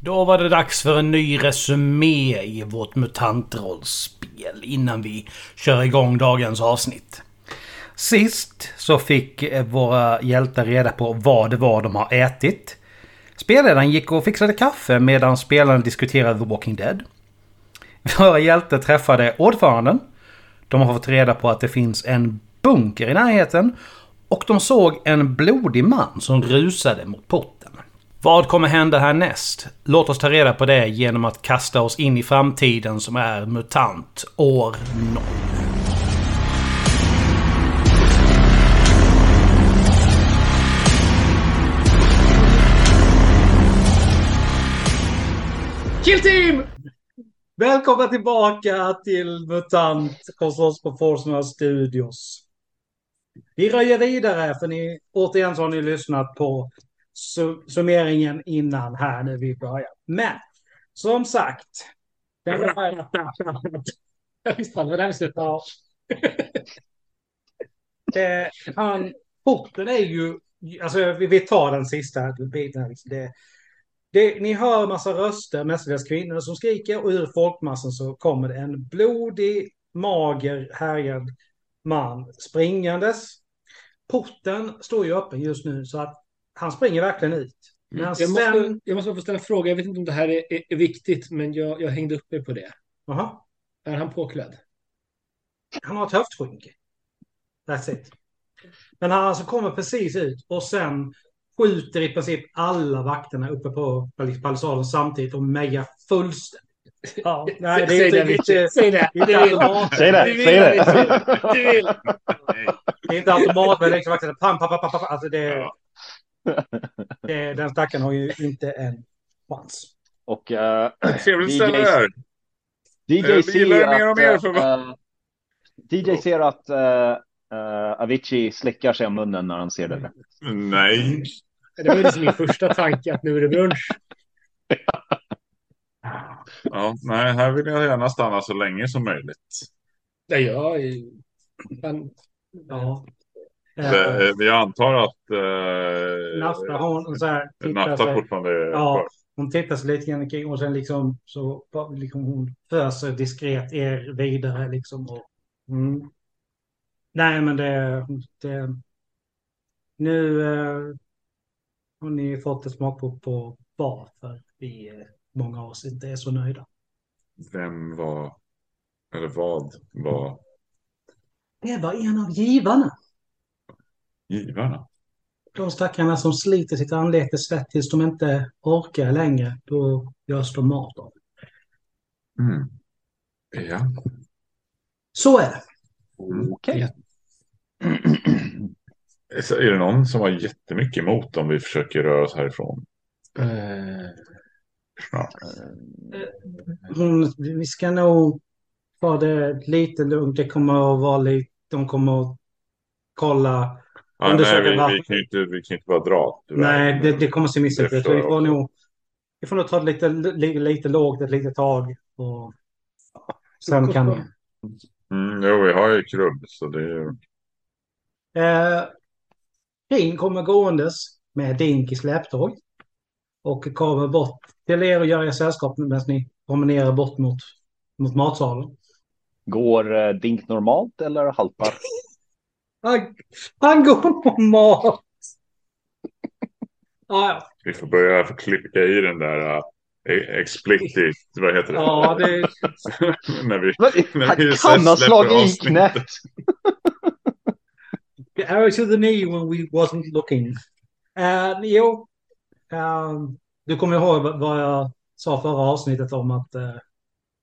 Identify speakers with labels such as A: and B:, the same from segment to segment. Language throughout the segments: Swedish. A: Då var det dags för en ny resumé i vårt mutantrollspel innan vi kör igång dagens avsnitt. Sist så fick eh, våra hjältar reda på vad det var de har ätit. Spelledaren gick och fixade kaffe medan spelarna diskuterade The Walking Dead. Våra hjältar träffade ordföranden. De har fått reda på att det finns en bunker i närheten. Och de såg en blodig man som rusade mot porten. Vad kommer hända härnäst? Låt oss ta reda på det genom att kasta oss in i framtiden som är MUTANT år 0.
B: Kill Team! Välkomna tillbaka till MUTANT, Konstås på Forsnö Studios. Vi röjer vidare, för ni, återigen så har ni lyssnat på su- summeringen innan här nu vi börjar. Men, som sagt. Det här,
C: Jag visste aldrig vad det här skulle
B: ja, det, Eh, han, porten är ju, alltså vi, vi tar den sista biten. här, Liksom. Det, det, ni hör massa röster, mestadels kvinnor som skriker och ur folkmassan så kommer det en blodig, mager, härjad man springandes. Porten står ju öppen just nu så att han springer verkligen ut. Men
C: Mm. Jag
B: sen...
C: måste, jag måste få ställa en fråga. Jag vet inte om det här är, är, är viktigt, men jag, jag hängde upp mig på det.
B: Aha,
C: Är han påklädd?
B: han har ett höftskynke. That's it. Men han alltså kommer precis ut och sen skjuter i princip alla vakterna uppe på palissaden samtidigt och mejar fullständigt. Ja, nej, det är
C: Säg
B: inte,
C: det,
B: inte,
C: Richard. Säg det. liksom-
B: det är inte automat.
D: Säg det,
C: Du vill,
D: säg det.
C: Richard. Du vill.
B: Det är inte automat, men det är liksom verkligen pam, pam, pam, pam, pam. Alltså det,
D: Ja.
B: det, den stackaren har ju inte en chans.
D: Och eh,
E: Trevligt
D: DJ
E: ställe det här.
D: DJ
E: Jag Eh, gillar
D: ser
E: det mer och
D: att,
E: mer för
D: eh, DJ ser att eh, eh, Avicii slickar sig om munnen när han ser det.
E: Nej.
C: Det var ju liksom min första tanke att nu är det brunch.
E: Ja, nej, här vill jag gärna stanna så länge som möjligt.
C: Nej, jag är... Han,
B: Ja.
E: Eh,
B: Eh,
E: eh, Jag antar att
B: Nafta
E: eh,
B: har en så här... tittar
E: Nafta
B: sig-
E: fortfarande är
B: Ja,
E: kvar.
B: hon tittar sig lite grann omkring och sen liksom så liksom hon föser diskret er vidare liksom. Och, mm. Nej, men det, det nu eh, har ni fått ett smakprov på varför vi eh, många av oss inte är så nöjda.
E: Vem var, eller vad var
B: Det var en av givarna.
E: givarna?
B: De stackarna som sliter sitt anlete svett tills de inte orkar längre, då görs de mat av.
E: Mm. Ja.
B: Så är det.
D: Okej.
E: Så Är det någon som har jättemycket emot om vi försöker röra oss härifrån?
D: Eh.
E: Ja.
B: Hon, vi ska nog ta det lite lugnt. Det kommer att vara lite, de kommer att kolla.
E: Ja,
B: Undersöka
E: nej, vi, vi,
B: vattnet.
E: kan ju inte, vi kan ju inte bara dra. tyvärr.
B: Nej, det, det kommer att se missigt
E: Det
B: ut.
E: förstår
B: Vi
E: jag
B: får
E: också.
B: nog, vi får nog ta det lite, li, lite lågt ett litet tag. Och sen kan vi.
E: Mm, jo, vi har ju krubb, så det är ju...
B: Eh, Ring kommer gåendes med Dink i släptåg. Och kommer bort till er och gör er sällskap medan ni promenerar bort mot, mot matsalen.
D: Går eh, Dink normalt eller haltar?
B: Han, han går på mat! Ja, ja.
E: Vi får börja klicka i den där uh, explicit, vad heter det?
B: Ja, det,
E: när vi, Men
D: Han
E: det är ju
D: kan
E: släpper
D: ha slagit i
E: avsnittet.
D: knät.
B: the arrow to the knee when we wasn't looking. Eh, jo, eh, du kommer ihåg vad- vad jag sa förra avsnittet om att eh,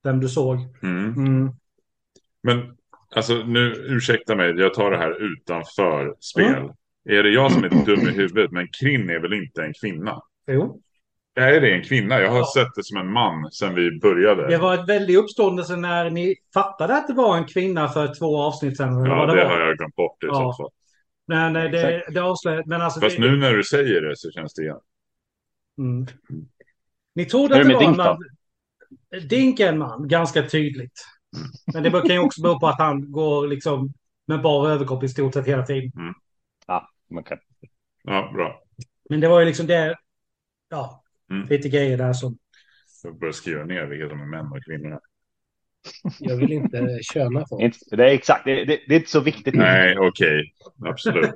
B: vem du såg.
E: mm. Men alltså nu, ursäkta mig, jag tar det här utanför spel.
B: Mm.
E: Är det jag som är dum i huvudet? Men Krin är väl inte en kvinna?
B: Jo,
E: Nej, det är en kvinna. Jag har
B: Ja.
E: sett det som en man sedan vi började.
B: det var ett väldigt uppståndelse när ni fattade att det var en kvinna för två avsnitt sedan. eller
E: ja,
B: vad det
E: det,
B: var.
E: har jag glömt bort i
B: Ja.
E: så fall.
B: Men eh, det, det avslöjade... Men alltså,
E: Fast
B: det,
E: nu när du säger det så känns det igen.
B: Mm.
E: Mm.
B: Ni trodde
D: Hur
B: att det
D: med
B: var en
D: Dink då?
B: man. Dink är en man, ganska tydligt. Men det kan ju också bero på att han går liksom med bara överkropp i stort sett hela tiden.
D: Man kan-
E: Ja, bra.
B: Men det var ju liksom det, ja,
E: Mm.
B: lite grejer där som
E: Jag börjar skriva ner vilka som är män och kvinnor.
C: Jag vill inte köna folk.
D: Inte- Det är exakt, det, det, det är inte så viktigt.
E: Nej, okej. Absolut.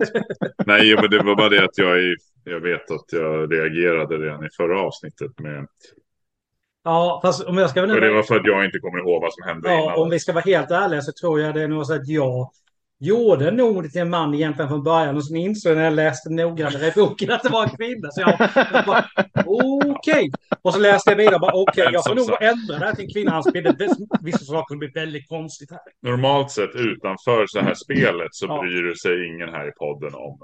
E: Nej, men det var bara det att jag, i- jag vet att jag reagerade redan i förra avsnittet. Med,
B: Ja, fast om jag ska vara
E: och det var för att jag inte kommer ihåg vad som hände
B: Ja,
E: innan.
B: om vi ska vara helt ärliga så tror jag det är nog så att jag gjorde nog det till en man egentligen från början och sen insåg jag när jag läste noggrannare i boken att det var en kvinna. Så jag, jag bara, okej. Och så läste jag vidare och bara okej,
E: Men
B: jag får
E: som
B: nog
D: Alltså,
E: sagt-
B: ändra det här till en kvinna. Annars blir det vissa saker som blir väldigt konstigt här.
E: Normalt sett utanför så här spelet så
B: Mm. Ja. Mm.
E: bryr sig ingen här i podden om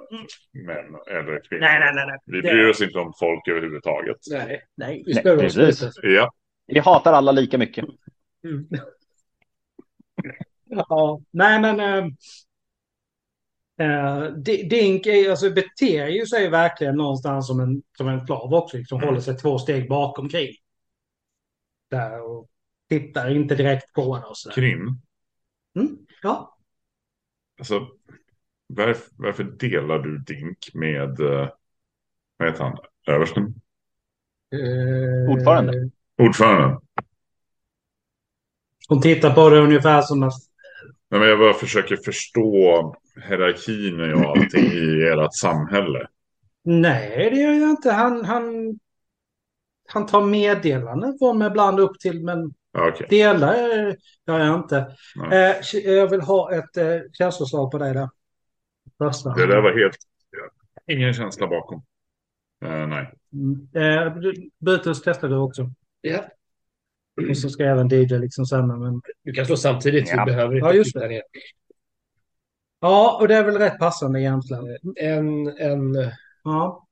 E: män eller kvinnor.
B: Nej, nej, nej. nej.
E: Vi
B: Det-
E: bryr oss inte om folk överhuvudtaget.
C: Nej,
B: Nej.
C: vi
D: Nej,
C: spöar oss
D: precis.
C: lite.
E: Ja,
D: Vi hatar alla lika mycket.
C: Mm.
B: Ja, nej men... Äh, Dink är, alltså, beter ju sig verkligen någonstans som en, som en slav också. Liksom,
E: Mm.
B: Håller sig två steg bakom krig. Där och tittar inte direkt på henne och sådär.
E: Krim.
B: Ja,
E: Alltså, varför, varför delar du Dink med, eh, vad heter han, översten?
B: eh,
D: Ordförande.
E: Ordföranden.
B: Hon tittar på det ungefär som att...
E: Nej, men jag bara försöker förstå hierarkin och allting i ert samhälle.
B: Nej, det gör jag inte. Han, han, han tar meddelanden från mig ibland upp till, men
E: Ja, Okej.
B: Delar eh, gör jag inte.
E: Nej.
B: Eh, k- jag vill ha ett eh, känsloslag på dig där. Första.
E: Det där var helt... Ingen känsla bakom. Eh, nej.
B: Mm. Eh, du- Brutus testar du också.
C: Ja,
B: Och så ska även DJ liksom sen. Men...
C: du kan slå samtidigt.
D: Ja.
C: Vi behöver inte
B: Ja, just
C: titta ner.
B: Ja, och det är väl rätt passande egentligen.
C: En, en...
B: Ja.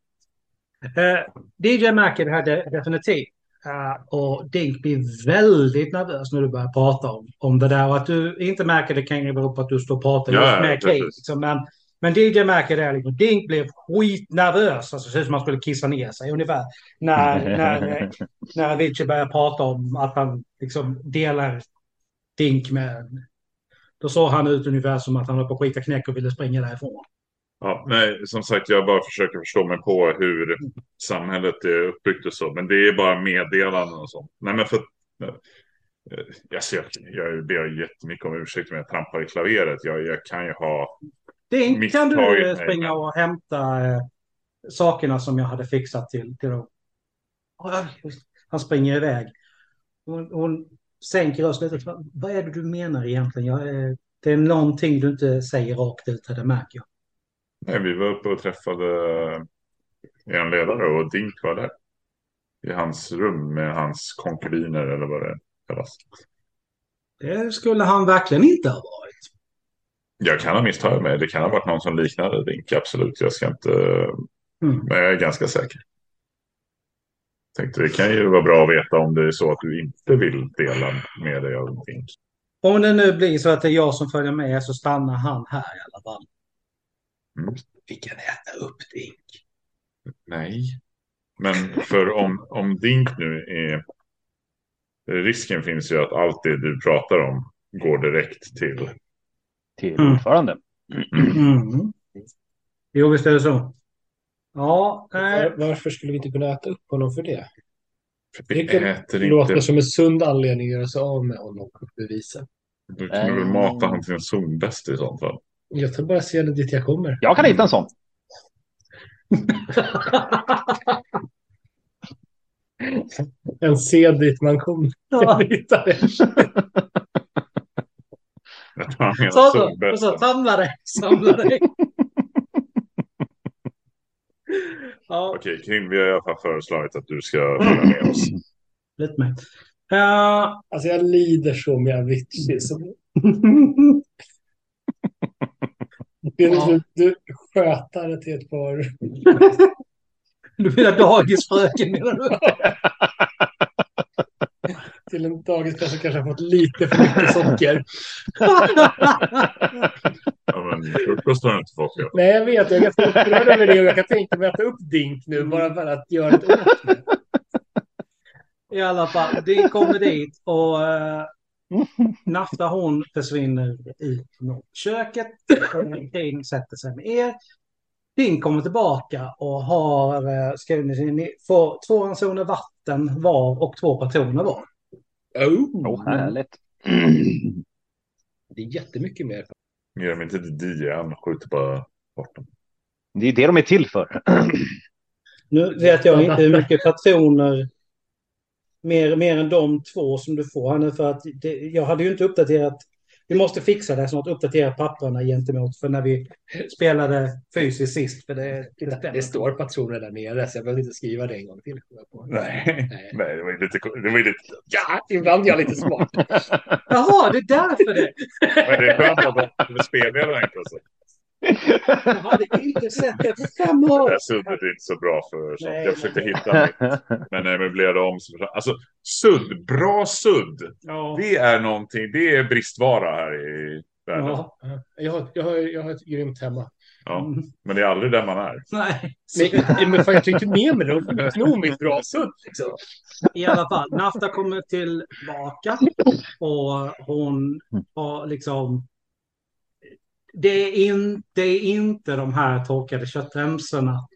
B: Eh, DJ märker det här de definitivt. Eh, och Dink blir väldigt nervös när du börjar prata om, om det där. Och att du inte märker det kan ju bero på att du står och pratar
E: Ja,
B: just
E: ja,
B: med Kate.
E: precis.
B: Liksom. Men, men DJ märker det. här, Liksom. Dink blev skitnervös. Alltså, det ser ut som att han skulle kissa ner sig ungefär. När, när, eh, när Avicii börjar prata om att han liksom delar Dink med... Då såg han ut ungefär som att han höll på att skita knäck och ville springa därifrån.
E: Ja, nej, som sagt, jag bara försöker förstå mig på hur samhället är uppbyggt och så. Men det är bara meddelanden och sånt. Nej, men för... eh, Jag, ser, jag ber jättemycket om ursäkt om jag trampar i klaveret. Jag, jag kan ju ha...
B: Dink, kan du eh,
E: Misstaget, nej,
B: springa
E: men-
B: och hämta eh, sakerna som jag hade fixat till, till dem? Oj, oj, Han springer iväg. Hon, hon sänker rösten lite. Vad- Vad är det du menar egentligen? Jag, eh, det är någonting du inte säger rakt ut, här, det märker jag.
E: Nej, vi var uppe och träffade en ledare och Dink var där. I hans rum med hans konkubiner eller vad det kallas.
B: Det skulle han verkligen inte ha varit.
E: Jag kan ha misstagit mig. Det kan ha varit någon som liknade Dink, absolut. Jag ska inte...
B: Mm.
E: Men jag är ganska säker. Tänkte det kan ju vara bra att veta om det är så att du inte vill dela med dig av Dink.
B: Om det nu blir så att det är jag som följer med så stannar han här i alla fall.
E: Mm.
B: Vi kan äta upp det.
E: Nej. Men för om, om Dink nu är... Risken finns ju att allt det du pratar om går direkt till...
D: Till
B: Mm.
D: ordförande.
B: Mm. Jo, visst är det så. Ja, eh, nej.
C: Var, varför skulle vi inte kunna äta upp honom för det?
E: Vi
C: Det kan
D: Eh.
E: äter
C: Det låter
E: inte...
C: som en sund anledning att göra sig av med honom och bevisen.
E: Du kan väl mata honom till en zonbest i sånt fall.
C: Jag tar bara scenen dit jag kommer.
D: Jag kan hitta en sån.
C: En sed dit man kommer. Jag hittar det.
E: Jag tar hela
B: Så, så,
E: zonbesten.
B: så samla dig, samla dig. ja,
E: Okej, Krim, vi har i alla fall föreslagit att du ska följa med oss.
B: lite mer. Eh,
C: Alltså jag lider så med Avicii. Så det är liksom, du skötare till ett par.
B: du menar dagisfröken menar du?
C: Till en dagisklass som kanske har fått lite för mycket socker.
E: Ja, men frukost har du inte fått. Ja.
C: Nej, jag vet. Jag är ganska upprörd över det. Och jag kan tänka mig att äta upp Dink nu bara för att göra det åt mig.
B: I alla fall, det kommer dit och uh, Nafta hon försvinner i köket. Ding sätter sig med er. Ding kommer tillbaka och har eh, skrivit, ni får två ransoner vatten vatten var och två patroner var.
C: Oh,
D: Åh, härligt.
C: det är jättemycket mer.
E: Ger dem inte DN, skjuter bara bort dem.
D: Det är det de är till för.
B: Nu vet jag inte hur mycket patroner mer, mer än de två som du får här nu för att det, jag hade ju inte uppdaterat. Vi måste fixa det snart, uppdatera papperna gentemot för när vi spelade fysiskt sist. För det, det
C: Det,
B: stämmer.
C: det står patroner där nere så jag behöver inte skriva det en gång till. kommer jag på.
E: Nej.
C: Nej.
E: Nej, det var ju lite... Det var ju lite
C: Ja, ibland är jag lite smart.
B: Jaha, det är därför det.
E: men det är skönt att de spelar den här klassen.
B: Jag hade inte sett det på fem år.
E: Det här suddet är inte så bra för sånt.
B: Oh. Nej.
E: Jag försökte hitta mitt, men när jag möblerade om så... försvann- Alltså, sudd. Bra sudd.
B: Ja.
E: Det är någonting. Det är bristvara här i världen.
B: Ja.
C: Jag har, jag, har, jag har ett grymt hemma.
E: Ja. Men det är aldrig där man är.
B: Nej,
C: Men, men fan, jag tog inte med mig det. De tog mitt brasudd. Liksom.
B: i alla fall. Nafta kommer tillbaka och hon har liksom... Det är, in, det är inte de här torkade köttremsorna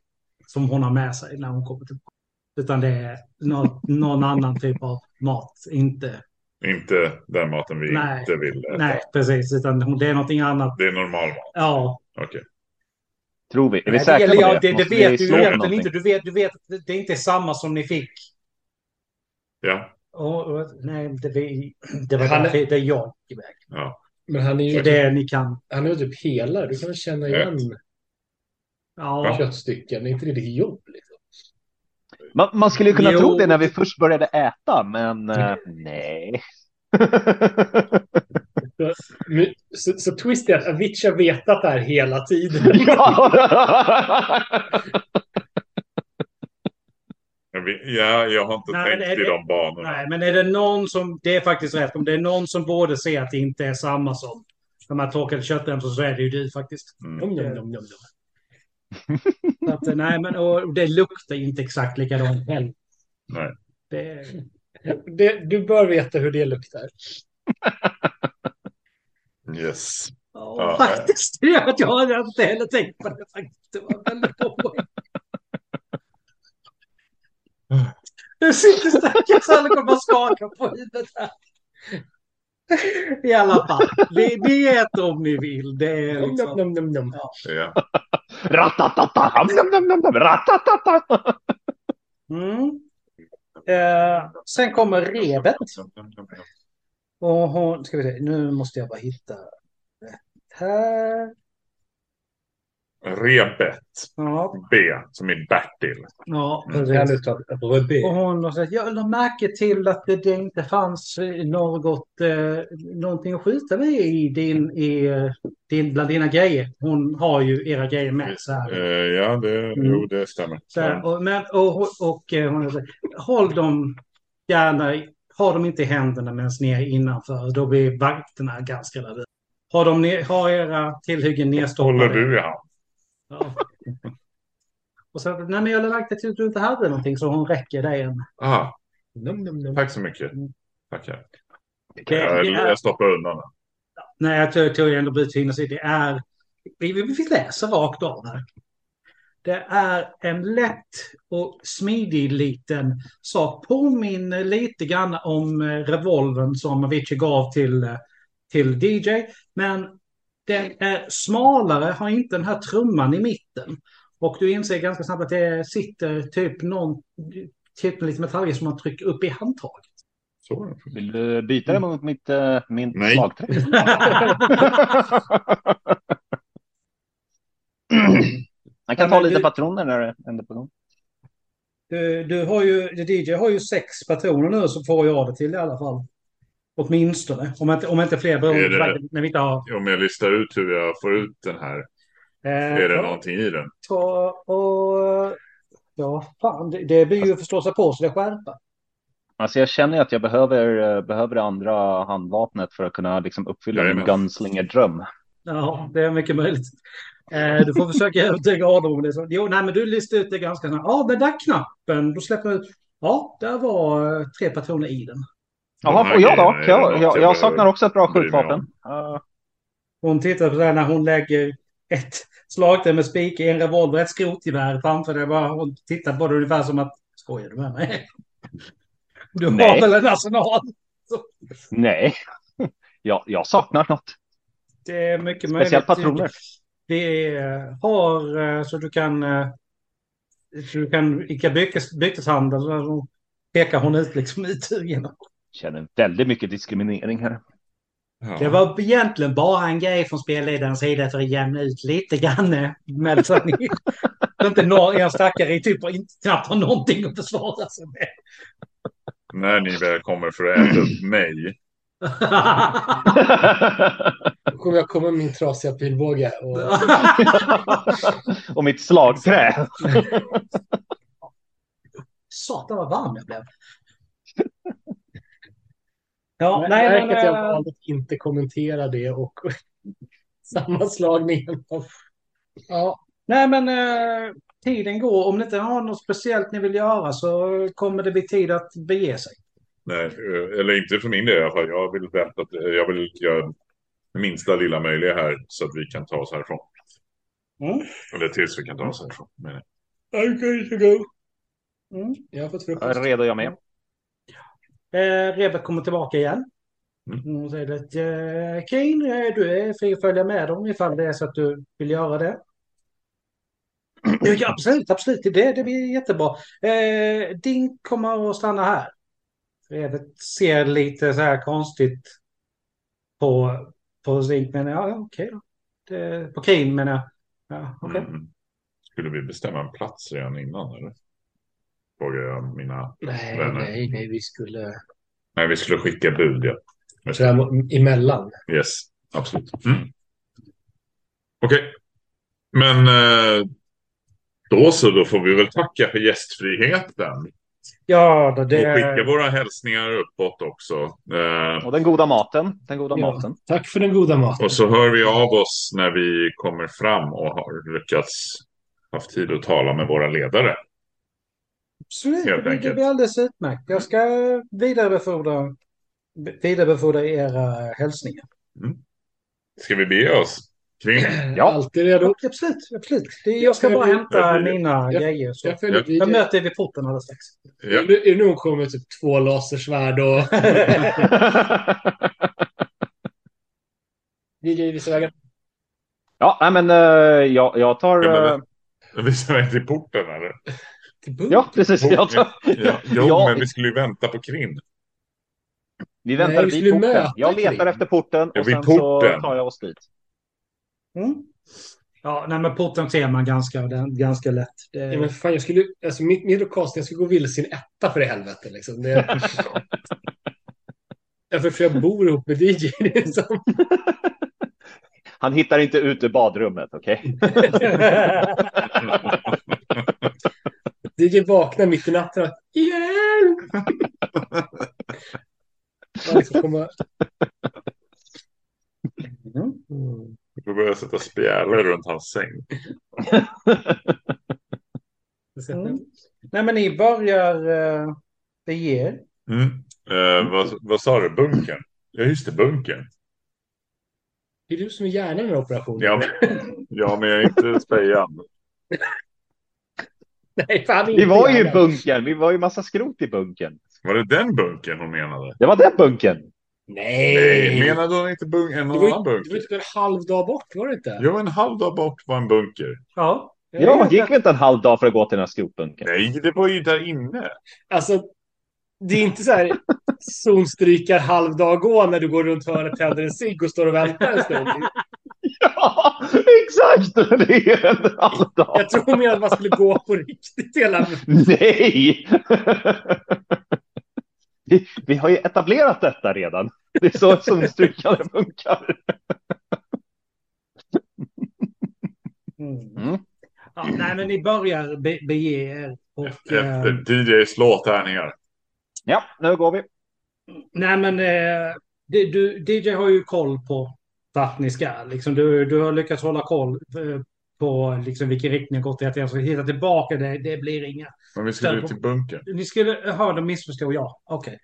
B: som hon har med sig när hon kommer tillbaka. Utan det är nå- någon annan typ av mat. Inte,
E: Inte den maten vi
B: Nej.
E: inte vill äta.
B: nej, precis. Utan hon- det är någonting annat.
E: Det är normal mat.
B: Ja,
E: Okej.
D: Tror vi. Är vi
B: Nej,
D: säkra
B: eller
D: på
B: ja,
D: det?
B: det, det
D: Måste vi
B: vet du
D: slå för
B: ju egentligen
D: någonting?
B: inte. Du vet, du vet att det- det är inte är samma som ni fick.
E: Ja.
B: Och, och, nej, det, vi- det var
C: Han-
B: det, det är jag iväg.
E: ja.
C: Men han är
B: Det
C: ju
B: är det ni kan.
C: han är ju typ helare. Du kan väl känna igen
B: Ja,
C: köttstycken? Det är inte det ditt jobb? Liksom.
D: Man, man skulle ju kunna
B: Jo. Mm.
D: tro det när vi först började äta, men eh, nej.
C: Men, så, så twist är att Avicii har vetat det här hela tiden.
D: ja.
E: Jag vet- Ja, jag har inte
B: Nej,
E: tänkt
B: men är
E: i
B: det-
E: de banorna.
B: nej, men är det någon som, det är faktiskt rätt, om det är någon som borde se att det inte är samma som de här torkade köttremsorna så är det ju du faktiskt.
E: Mm.
C: Nom, nom, nom, nom, nom.
B: Så Att, eh, nej, men och det luktar inte exakt likadant heller.
E: Nej.
B: Det,
C: Det, du bör veta hur det luktar.
E: Yes.
B: ja,
E: Ja.
B: faktiskt. Det gör att jag hade inte heller tänkt på det faktiskt. Det var väldigt bra poäng. Nu sitter stackars Alec och bara skakar på huvudet här. I alla fall, ni, ni äter om ni vill. Det är
C: Nom,
B: liksom...
C: nom, nom, nom, nom.
E: Ja.
D: Ratatata! Nom, nom, nom, nom. Ratatata!
B: Mm. Eh, sen kommer revet. Och hon, ska vi se, nu måste jag bara hitta rätt här.
E: Rebet.
B: Ja,
E: B, som är Bertil.
B: ja
E: Mm.
C: Det här
B: precis.
C: luktar rödbet.
B: Och hon har sagt, jag lade märke till att det, det inte fanns eh, något, eh, någonting att skjuta med i din, i, eh, din, bland dina grejer. Hon har ju era grejer med så här.
E: Eh, ja, det, jo, det stämmer.
B: Mm. Så här, och, men, och, och, och eh, hon har sagt, håll dem gärna, i- ha dem inte i händerna medan ni är innanför, då blir vakterna ganska rädda. Har de ne- ha era tillhyggen
E: Håller
B: nedstoppade.
E: du i hand?
B: Ja. Och så, nej men jag lade märke till att du inte hade någonting så hon räcker dig en.
E: Ah,
C: Nom, nom, nom.
E: tack så mycket.
B: Mm.
E: Tackar.
B: Det-
E: Jag,
B: det är-
E: jag stoppar undan den.
B: Nej, jag tror, tror jag ändå byter in och säger det är... Vi, vi, vi läser rakt av här. Det är en lätt och smidig liten sak. Påminner lite grann om eh, revolvern som Avicii gav till, eh, till DJ. Men den är smalare, har inte den här trumman i mitten. Och du inser ganska snabbt att det sitter typ någon... Typ lite metallgrej som man trycker upp i handtaget.
E: Så.
D: Vill du byta det mot mitt, eh, min
E: Nej.
D: slagträ? Man
B: Ja,
D: kan ta
B: men
D: lite
B: du-
D: patroner när det ändå på gång.
B: Du, du har ju, DJ har ju sex patroner nu så får jag det till i alla fall. Åtminstone. Om inte, om inte fler
E: Är
B: beroende
E: det-
B: på faktiskt när vi inte har.
E: Om jag listar ut hur jag får ut den här, är det någonting i den?
B: Eh, ta, och, ja, fan, det, det blir ju förstå sig på så det skärpa.
D: Alltså jag känner ju att jag behöver, eh, behöver det andra handvapnet för att kunna liksom uppfylla min
E: Jajamän.
D: gunslinger-dröm.
B: Ja, det är mycket möjligt. Eh, du får försöka övertyga Adam om det. Så, jo, nej, men du listar ut det ganska snabbt. Ja, den där knappen, då släpper du ut. Ja, där var eh, tre patroner i den.
E: De
D: Jaha,
E: här
D: och jag då?
E: grejerna är något
D: Jag, jag, jag saknar
E: behöver-
D: också ett bra
E: bry mig om.
D: skjutvapen. Eh,
B: Hon tittar på det här när hon lägger ett slagträ med spik i en revolver, ett skrotgevär framför det. Bara, hon tittar på det ungefär som att skojar du med mig? Du har
D: Nej.
B: väl en arsenal?
D: Nej, jag, jag saknar något.
B: Det är mycket möjligt.
D: Speciellt patroner.
B: Vi eh, har eh, så du kan... eh, Så du kan Ica bytes, byteshandel. Så pekar hon ut liksom i genom.
D: Känner väldigt mycket diskriminering här.
E: Ja.
B: Det var egentligen bara en grej från spelledarens sida för att jämna ut lite grann. eh, Med så att ni så inte når er stackare i typ och inte knappt har någonting att försvara sig med.
E: När ni väl kommer för att äta upp mig.
C: Då kommer jag komma med min trasiga pilbåge. Och...
D: Och mitt slagträ.
B: Satan vad varm jag blev. Ja,
C: Men
B: nej,
C: märk
B: men,
C: att jag
B: eh,
C: valde att inte kommentera det och sammanslagningen av... Ja,
B: Nej, men eh, tiden går. Om ni inte har något speciellt ni vill göra så kommer det bli tid att bege sig.
E: Nej, eh, eller inte för min del i alla fall. Jag vill, vänta, att- eh, jag vill göra det minsta lilla möjliga här så att vi kan ta oss härifrån.
B: Mm.
E: Eller tills vi kan ta oss härifrån. menar jag.
C: I'm going to go.
B: Mm.
C: Jag har fått
D: Här
C: frukost.
D: Redo jag med.
B: Eh, Rebet kommer tillbaka igen.
E: Mm.
B: Hon säger att eh, Kane, eh, du är fri att följa med dem ifall det är så att du vill göra det. Ja, ja, absolut, absolut. Det, det blir jättebra. Eh, Dink kommer att stanna här. Rebet ser lite så här konstigt på, på Dink, men ja, ja, okej då. Det, på Kane menar jag. Ja, okej.
E: Mm. Skulle vi bestämma en plats redan innan eller? Frågar jag mina...
C: Nej,
E: Vänner.
C: nej, nej, vi skulle...
E: Nej, vi skulle skicka bud ja.
C: Så här, emellan.
E: Yes, absolut. Mm. Okej. Men eh, då så, då får vi väl tacka för gästfriheten.
B: Ja, då
E: Och skicka
B: det...
E: våra hälsningar uppåt också. Eh,
D: Och den goda maten. Den goda
C: Ja.
D: maten.
C: Tack för den goda maten.
E: och så hör vi av oss när vi kommer fram och har lyckats haft tid att tala med våra ledare.
B: Absolut,
E: helt
B: det
E: enkelt.
B: blir alldeles utmärkt. Jag ska vidarebefordra, vidarebefordra era eh, hälsningar.
E: Ska vi bege oss? Kring?
D: Ja.
C: Alltid redo.
B: Absolut, absolut. Det, jag ska
C: Jag-
B: bara hämta
E: jag-
B: mina
C: jag-
B: grejer. Så.
C: Jag följer
B: Jag
C: videon.
B: möter er vid porten alldeles strax.
E: Ja.
C: Nu- nu- Nu kommer med typ två lasersvärd och... DJ visar vägen.
D: ja, nej, men eh, jag, jag tar...
E: Ja, men-
D: eh,
E: Visar väg till porten eller?
C: Till Bunk.
D: ja, precis. Jag tar,
E: Ja, jo,
D: Ja.
E: men vi skulle ju vänta på Krim.
D: vi
C: Nej,
D: väntar
C: vi
D: vid
C: skulle
D: porten.
C: möta
D: jag
C: Krim.
D: letar efter porten och
E: Ja, vid
D: sen
E: porten.
D: så tar jag oss dit.
B: Mm. Ja, nej, men porten ser man ganska, den, ganska lätt. Det,
C: Ja, men fan, jag skulle, alltså, mitt, mitt lokalsnitt, jag skulle gå vilse i en etta för i helvete. Liksom. Det, ja, för, för jag bor ihop med DJ. Liksom.
D: Han hittar inte ut ur badrummet, okej?
C: DJ vaknar mitt i natten och hjälp! Man liksom kommer,
B: Mm.
E: Vi börjar sätta spjälor runt hans säng.
B: Mm. Nej, men ni börjar eh, bege er.
E: Mm. Eh, vad, vad sa du? Bunkern? Ja, just det, bunkern.
C: det är du som är hjärnan i den här operationen.
E: Ja, men- ja men jag är inte spejan.
C: Nej, fan,
D: Vi
C: inte
D: var ju i
C: hjärnan.
D: bunkern. Vi var ju massa skrot i bunkern.
E: Var det den bunkern hon menade?
D: Det var den bunkern.
E: Nej,
C: Nej!
E: menade hon inte bunk en
C: Det var,
E: annan
C: ju, det var ju
E: bunker?
C: typ en halv dag bort, var det inte?
E: Jo, en halv dag bort var en bunker.
B: Ja.
D: Ja, gick vi inte en halv dag för att gå till den här skrotbunkern?
E: Nej, det var ju där inne.
C: Alltså, det är inte så här zonstrykar halv dag gå när du går runt hörnet, tänder en cigg och står och väntar en stund.
D: Ja, exakt! Det är en halv dag.
C: Jag tror mer att man skulle gå på riktigt hela...
D: Nej! Vi, vi har ju etablerat detta redan. Det är så zonstrykare funkar.
B: Mm.
D: Mm.
B: ja. Nej, men ni börjar be, bege er. Och, eh,
C: Ehm.
E: Efter DJ slå tärningar.
D: Ja, nu går vi.
B: Nej, men eh, det, du, DJ har ju koll på vart ni ska. Liksom, du, du har lyckats hålla koll eh, på liksom, vilken riktning ni har gått i. Att jag ska hitta tillbaka det, det blir inga.
E: Men vi skulle ut till bunkern.
B: Ni skulle eh, ha de missförstod jag. Okej.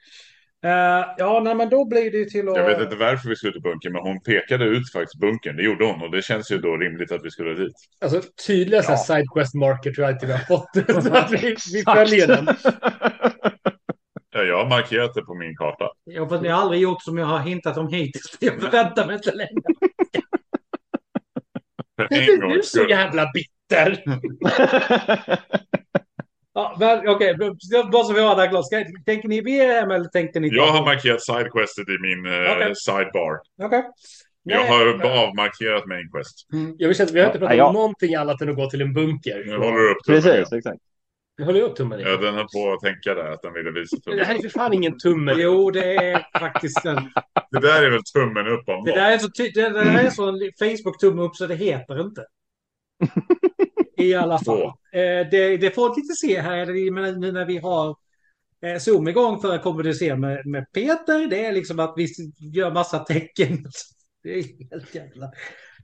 B: Eh, ja, nej, men då blir det ju till att...
E: Jag vet inte varför vi skulle till bunkern, men hon pekade ut faktiskt bunkern. Det gjorde hon och det känns ju då rimligt att vi skulle dit.
C: Alltså tydliga ja.
D: Ja.
C: sidequest marker tror jag inte vi har fått. Så att vi, vi följer den.
E: markerat det på min karta.
B: Ja, för ni har aldrig gjort som jag har hintat om hittills. Jag förväntar mig inte längre.
E: För
C: Det
E: en
C: är du
E: gångs
C: så
E: skull.
C: jävla bitter.
B: Ja, men okej, okay. bara så vi har det här klart. Ska- Tänker ni VM eller tänkte ni
E: Jag har markerat sidequestet i min eh,
B: Okej.
E: sidebar.
B: Okej.
E: Jag
B: Nej,
E: har
B: men-
E: avmarkerat main quest.
C: Jag vill säga att vi har inte pratat
D: Ja, ja.
C: om någonting annat än att gå till en bunker.
E: Nu håller du upp tummen igen.
D: Precis, exakt.
C: Nu håller jag upp tummen i.
E: Ja, den höll på att tänka där att den ville visa
C: Det
E: tummen.
C: här är för fan ingen tumme.
B: Jo, det är faktiskt en...
E: Det där är väl tummen upp om
B: Det
E: något.
B: där är så ty- det, det där är så en Facebook-tumme upp så det heter inte. I alla fall.
E: Så.
B: Eh, det, det får vi lite se här i- men nu när vi har eh, Zoom igång för att kommunicera med, med Peter. Det är liksom att vi gör massa tecken. Det är helt jävla...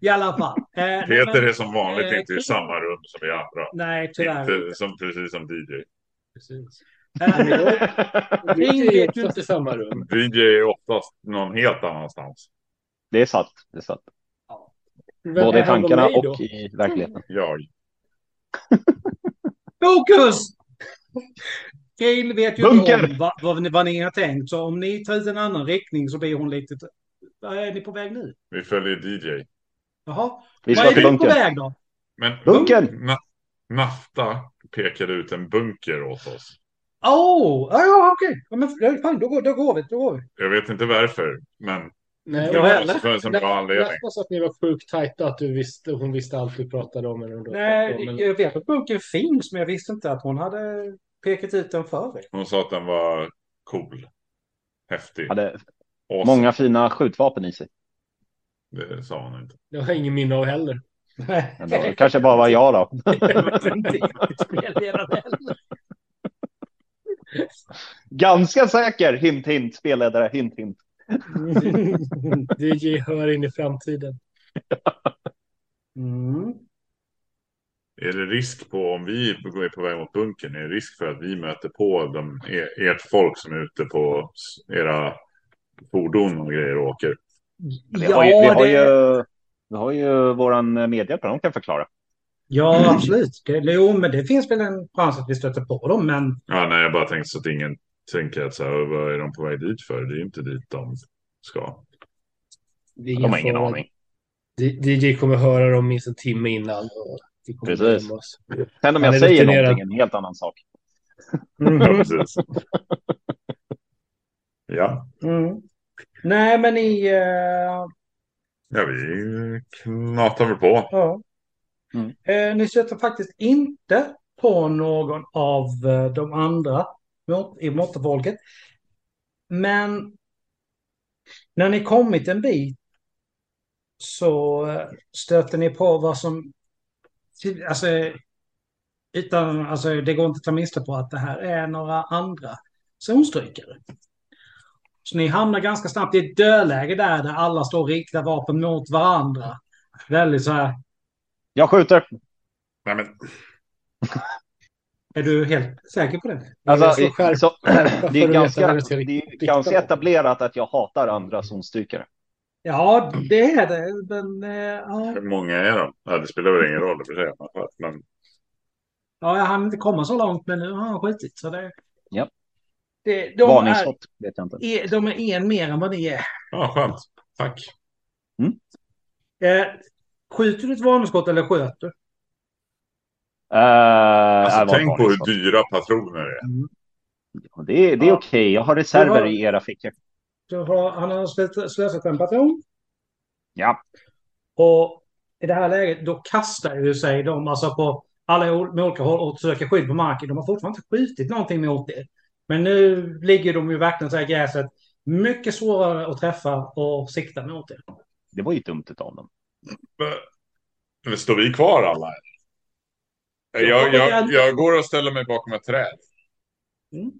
B: I alla fall. Eh, nej,
E: Peter
B: men-
E: är som vanligt
B: Eh,
E: inte i samma rum som vi andra.
B: Nej, tyvärr.
E: Inte, som, precis som DJ.
C: Precis.
B: Eh,
C: Vi är ju inte i samma rum.
E: DJ är oftast någon helt annanstans.
D: Det är sant. Det är sant.
C: Vem
D: Både
C: är
D: i
C: han och
D: tankarna
C: mig då?
D: och i verkligheten.
E: Jag.
B: Fokus! Gail vet ju
D: Bunker!
B: inte om vad, vad, ni- vad ni har tänkt, så om ni tar ut en annan riktning så blir hon lite... Vad är ni på väg nu?
E: Vi följer DJ.
B: Jaha.
D: Vi
B: Vad
D: ska
B: är du
D: till
B: på
D: bunkern.
B: väg då?
E: Men
D: Bunkern!
E: Na Nafta pekade ut en bunker åt oss.
B: Åh, ja, ja, okej. Ja, men ja, fan, då, går, då går vi. Då går vi.
E: Jag vet inte varför, men
C: Nej,
E: det
B: Jag
C: jag
B: heller.
E: måste finnas en
C: Nej,
E: bra anledning.
C: hoppas att ni var sjukt tajta och att du visste, hon visste allt du pratade om. Eller hon pratade
B: Nej,
C: om, eller-
B: jag vet att bunken finns, men jag visste inte att hon hade pekat ut den för er.
E: Hon sa att den var cool. Häftig.
D: Hade
E: Awesome.
D: många fina skjutvapen i sig.
E: Det sa hon inte.
C: Det har jag ingen minne av heller.
D: Men det kanske bara var jag då.
B: Jag vet inte riktigt spelledaren heller.
D: Ganska säker. Hint, hint. Spelledare. Hint, hint.
C: DJ hör in i framtiden.
B: Mm.
E: Är det risk på, om vi är på väg mot bunkern, är det risk för att vi möter på de, er, ert folk som är ute på s- era fordon och grejer och åker?
D: Vi har ju, vi har
B: det-
D: ju, vi har ju våran medhjälpare. De kan förklara.
B: Ja, absolut. Det, jo, men det finns väl en chans att vi stöter på dem, men
E: Ja, nej, jag bara tänkte så att ingen tänker att så här, vad är de på väg dit för? Det är ju inte dit de ska.
C: Det är
D: De har ingen
C: fara.
D: aning.
C: D- DJ kommer höra dem minst en timme innan. Och vi kommer
D: Precis.
C: glömma oss.
D: Sen om
C: Han
D: jag
C: är
D: säger
C: rutinerad.
D: någonting, en helt annan sak.
E: Ja, precis. ja,
B: Mm. Nej, men i... eh,
E: ja, vi knatar väl på.
B: ja.
D: Mm.
B: Eh, ni stöter faktiskt inte på någon av eh, de andra mot, i motorfolket. Men när ni kommit en bit så eh, stöter ni på vad som... Alltså, utan, alltså, det går inte att ta miste på att det här är några andra zonstrykare. Så ni hamnar ganska snabbt i ett dödläge där, där alla står och riktar vapen mot varandra. Väldigt så här,
D: Jag skjuter.
E: Nej, men
B: är du helt säker på det?
D: Alltså,
C: Jag ska skärpa-
D: så,
C: skärpa
D: det
C: för
D: är
C: att
D: ganska,
C: veta hur jag ska
D: det är
C: rikta
D: ganska
C: dem.
D: etablerat att jag hatar andra zonstrykare.
B: Ja, det är det. Men, eh, ja.
E: hur många är de? Ja, det spelar väl ingen roll i och för sig. Men
B: ja, jag hann inte komma så långt, men nu har han skjutit. Så det,
D: Ja.
B: det, de, är,
D: Varningsskott vet jag inte.
B: är, de är en mer än vad ni är.
E: ja, skönt. Tack.
B: Eh, skjuter du ett varningsskott eller sköt du?
D: Eh, det var
E: Alltså,
D: ett
E: tänk på hur
D: varningsskott.
E: dyra patroner det är.
D: Ja, Det, det är
B: Ja.
D: okej. Jag har reserver
B: Du har-
D: i era fickor.
B: Du har, han har slösat- slösat en patron.
D: Ja.
B: Och i det här läget, då kastar ju sig de alltså på alla ol- med olika håll och söker skydd på marken. De har fortfarande inte skjutit någonting mot det. Men nu ligger de ju verkligen så här i gräset. Mycket svårare att träffa och sikta mot det.
D: Det var ju dumt utav dem.
E: Men står vi kvar alla? Jag, jag, jag går och ställer mig bakom ett träd.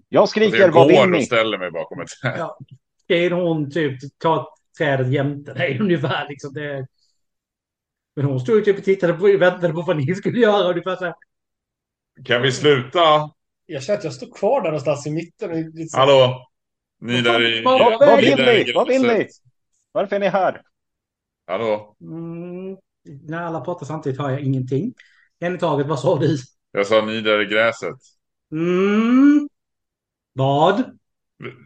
D: Jag
E: Alltså,
D: skriker,
E: jag
D: vad vill
E: går och
D: ni?
E: ställer mig bakom ett träd.
B: Det är hon typ, tar trädet jämte dig ungefär. Liksom det. Men hon stod ju typ och tittade på, väntade på vad ni skulle göra. Ungefär så här.
E: Kan vi sluta?
C: Jag känner att jag står kvar där någonstans i mitten. och det är lite så-
E: Hallå? Ni där i...
B: Vad-
D: Vad
E: ni
D: vill
E: där i
D: ni? Vad vill
E: gräset.
D: ni? Varför är ni här?
E: Hallå?
B: Mm, när alla pratar samtidigt hör jag ingenting. En i taget, vad sa du?
E: Jag sa ni där i gräset.
B: Mm. Vad?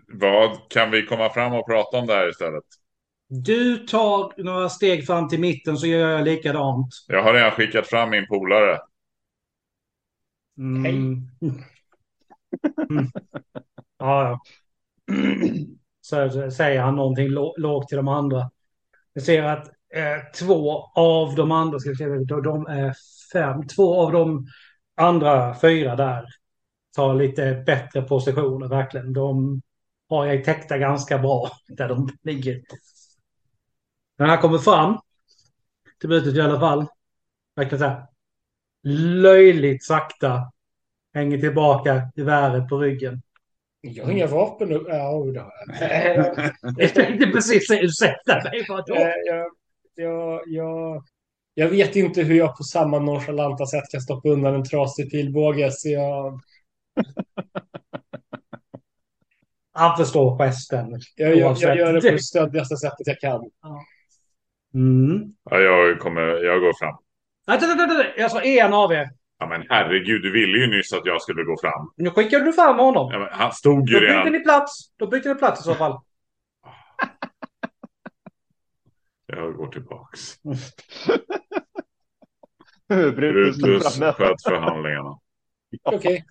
E: Vad kan vi komma fram och prata om det här istället?
B: Du tar några steg fram till mitten så gör jag likadant.
E: Jag har redan skickat fram min polare.
B: Mm.
C: Hej.
B: Mm. Ja, ja. Så, så säger han någonting lå- lågt till de andra. Jag ser att eh, två av de andra, ska jag säga, de- de är fem, två av de andra fyra där tar lite bättre positioner verkligen. De har jag täckta ganska bra där de ligger. När han kommer fram till bytet i alla fall, verkligen så här löjligt sakta hänger tillbaka geväret på ryggen.
C: Jag har inga vapen nu. Ja, jo, det har jag.
E: Mm.
B: Jag tänkte precis säga ursäkta mig, vadå?
C: Eh, jag, jag, jag, jag vet inte hur jag på samma nonchalanta sätt kan stoppa undan en trasig pilbåge. Så jag,
B: Han förstår gesten.
C: jag, jag, jag
B: Oavsett.
C: gör det på det stöddigaste sättet jag kan.
B: Mm.
E: Ja, jag, kommer, jag går fram.
B: Vänta, vänta, vänta, jag sa en av er.
E: Ja, men herregud, du ville ju nyss att jag skulle gå fram.
B: Nu skickade du fram honom.
E: Ja, men han stod
B: Då
E: ju
B: bytte
E: redan.
B: ni plats. Då bytte ni plats i så fall.
E: Jag går tillbaks.
D: Brutus står
E: Brutus
D: framme.
E: sköt förhandlingarna.
C: Okej.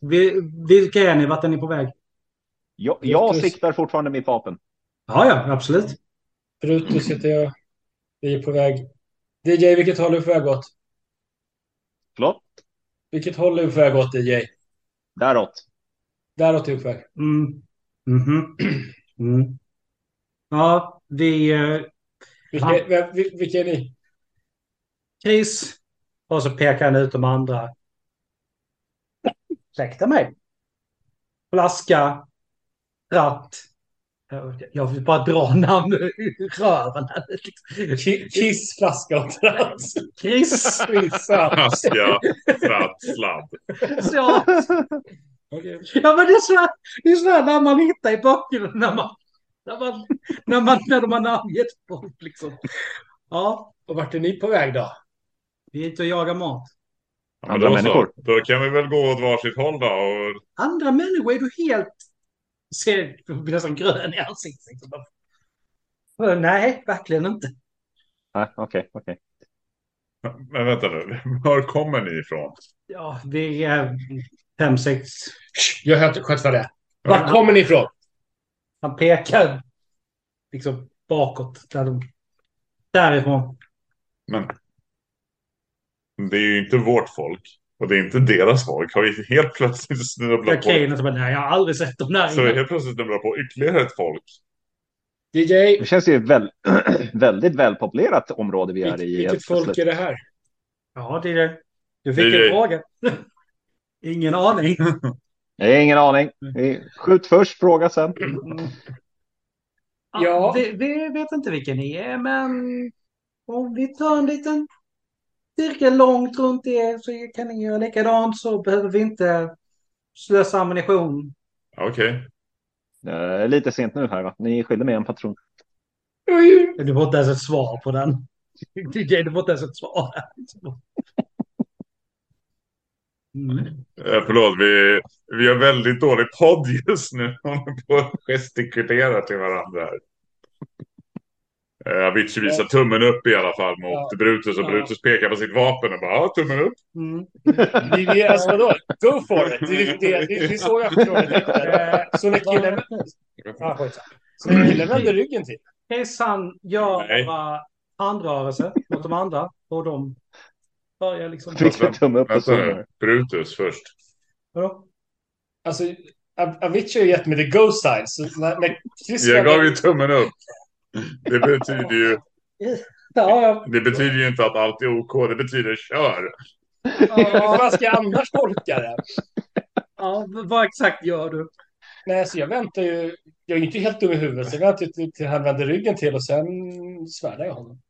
B: Vi, vilka är ni? Vart är ni på väg?
D: Jag, jag
C: Brutus.
D: siktar fortfarande mitt vapen.
B: Ja, ja, absolut.
C: Brutus heter jag. Vi är på väg. DJ, vilket håll är vi på väg åt?
D: Förlåt?
C: Vilket håll är vi på väg åt, DJ?
D: Däråt.
C: Däråt är vi på väg.
B: Mm. Mhm. Mm. Ja, vi... Eh,
C: Vilka,
B: Han-
C: vem, vil- vilka är ni?
B: Chris. Och så pekar han ut de andra. Ursäkta mig. Flaska. Ratt. Jag- Jag vill bara dra namn ur röven. här. liksom.
C: Ki- Kiss, flaska och trans.
B: Chris.
C: Skitsamma.
E: Aska, tratt, sladd.
B: Ja,
C: Okej.
B: ja men det är sådär det är sådär när man hittar i böckerna när man, när man, när man, när de har namngett folk liksom. Ja,
C: Och vart är ni på väg då?
B: vi är ute och jagar mat.
E: Ja, men
D: Andra
E: då,
D: människor.
E: så, då kan vi väl gå åt varsitt håll då. Och,
B: Andra människor är du helt, ser du blir nästan grön i ansiktet. Liksom. Bara, Nej, verkligen inte.
D: Nej, okej, okej.
E: men vänta nu, var kommer ni ifrån?
B: Ja, vi är fem, sex.
C: Jag hör- sköt för det. Var kommer ni ifrån?
B: Han pekar liksom bakåt. Där de, därifrån.
E: Men det är ju inte vårt folk. Och det är inte deras folk. Har vi helt plötsligt snubblat på.
B: Kakenet bara, nej jag har aldrig sett dem där
E: Så vi
B: innan.
E: helt plötsligt snubblat på ytterligare ett folk.
C: DJ,
D: Det känns ju väl, väldigt välpopulerat område vi är
C: vilket,
D: i.
C: vilket
D: helt
C: folk
D: plötsligt.
C: är det här?
B: Ja, det är det. Du fick
E: Det är-
B: en fråga. Ingen aning.
D: Jag har ingen aning. Skjut först, fråga sen.
C: Ja.
B: Vi, vi vet inte vilken ni är, men om vi tar en liten cirkel långt runt er så kan ni göra likadant så behöver vi inte slösa ammunition.
E: Okej.
D: Det är lite sent nu här va? Ni skyller mig en patron.
B: Du får inte ens ett svar på den. Du får inte ens ett svar. Mm.
E: Eh, förlåt, vi, vi har väldigt dålig podd just nu. Vi håller på att gestikulera till varandra här. Eh, Avicii visar tummen upp i alla fall mot
C: Ja.
E: Brutus och
C: Ja.
E: Brutus pekar på sitt vapen och bara ja, tummen upp.
B: Mm.
C: Vi, vi, alltså vadå? Go for it! Det, är- det, det, det är så jag förstår det. Eh, Så när killen,
B: Ja, skitsamma.
C: så när killen vänder ryggen till.
B: Hejsan gör
E: Nej.
B: några handrörelser mot de andra och de börjar liksom...
D: Fick en tumme upp och
E: Vänta
D: så.
E: nu, Alltså, Brutus först.
B: Vadå?
C: Alltså, A- Avicii har ju gett mig the go sign. Så när, när Chris
E: Jag gav
C: vänder,
E: ju tummen upp. Det betyder ju,
B: Ja, ja.
E: det betyder ju inte att allt är OK, det betyder kör.
C: hur fan ska jag annars tolka det?
B: ja, vad exakt gör du?
C: Nej, så jag väntar ju. Jag är ju inte helt dum i huvudet, så jag väntar ju till, till han vänder ryggen till och sen svärdar jag honom.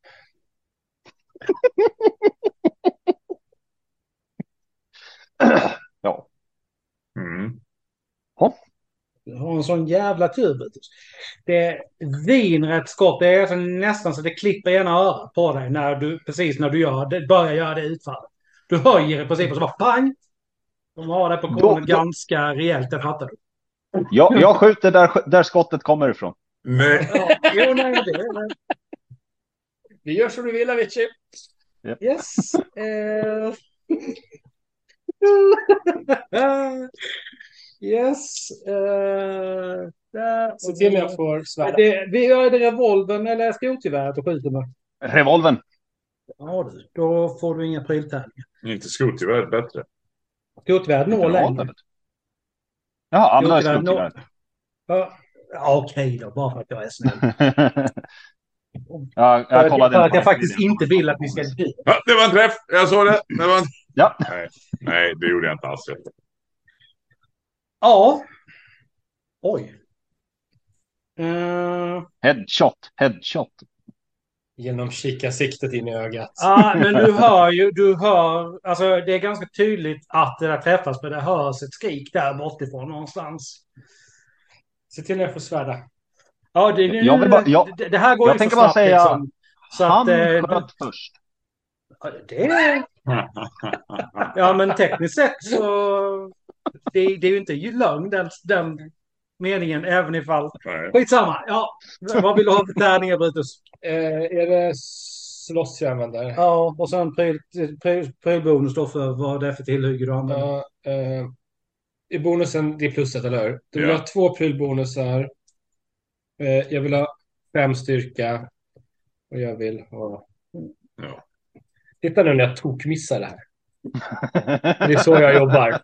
D: Ja.
E: Mm.
B: Du har en sån jävla tur, Brutus. Det är vinrätt skott. Det är så nästan så det klipper ena örat på dig när du, precis när du gör det, börjar göra det utfallet. Du höjer i princip och så bara pang! De har det på
D: Då-
B: kornet
D: då-
B: ganska rejält, det fattar du.
D: Jag, jag skjuter där, där skottet kommer ifrån.
E: Nej.
B: Ja, jo, nej, det är det.
C: Vi gör som du vill, Avicii.
B: Yes. Eh. yes. eh, där.
C: Se till när jag får
B: Ja,
C: svärda.
B: Det, vi gör det revolvern eller skrotgeväret och skjuter med.
D: Revolven.
B: Ja du, då får du inga pryltärningar.
E: Inte skrotgeväret bättre.
B: Skrotgeväret når längre.
D: Jaha,
B: Jo,
D: andra
B: tyvärr,
D: skrotgeväret.
B: Ja, ja, okej då, bara för att jag är snäll.
D: ja,
B: För
D: jag
B: att jag,
D: kollade
B: för
D: den
B: att jag
D: på
B: faktiskt
D: Wikipedia.
B: inte vill att vi ska dö.
E: Ja, det var en träff! Jag såg det. det var en...
D: Ja.
E: Nej. Nej, det gjorde jag inte alls.
B: Ja. Oj. Eh,
D: Headshot, headshot.
C: Genom kikarsiktet in i ögat.
B: Ja, men du hör ju, du hör, alltså det är ganska tydligt att det där träffas, men det hörs ett skrik där bortifrån någonstans.
C: Se till när jag får svärda.
B: Ja, det,
D: Jag vill bara- jag-
B: det, det här går
D: jag
B: ju
D: tänker
B: för
D: bara
B: snabbt
D: säga-
B: liksom. Så att,
D: Han
B: eh,
D: sköt först.
B: det, ja, men tekniskt sett så, det, det är ju inte lögn den, den meningen, även ifall,
E: Nej.
B: skitsamma, ja, vad vill du ha för tärningar Brutus?
C: Eh, är det slåss jag använder?
B: Ja, och sen pryl, pryl, prylbonus då för vad det är för tillhygge du använder.
C: Ja, eh, i bonusen, det är plusset, eller hur? Du
E: Mm.
C: vill
E: Ja.
C: ha två prylbonusar. Eh, jag vill ha fem styrka. Och jag vill ha...
E: Ja.
C: Titta nu när jag tokmissar det här. Det är så jag jobbar.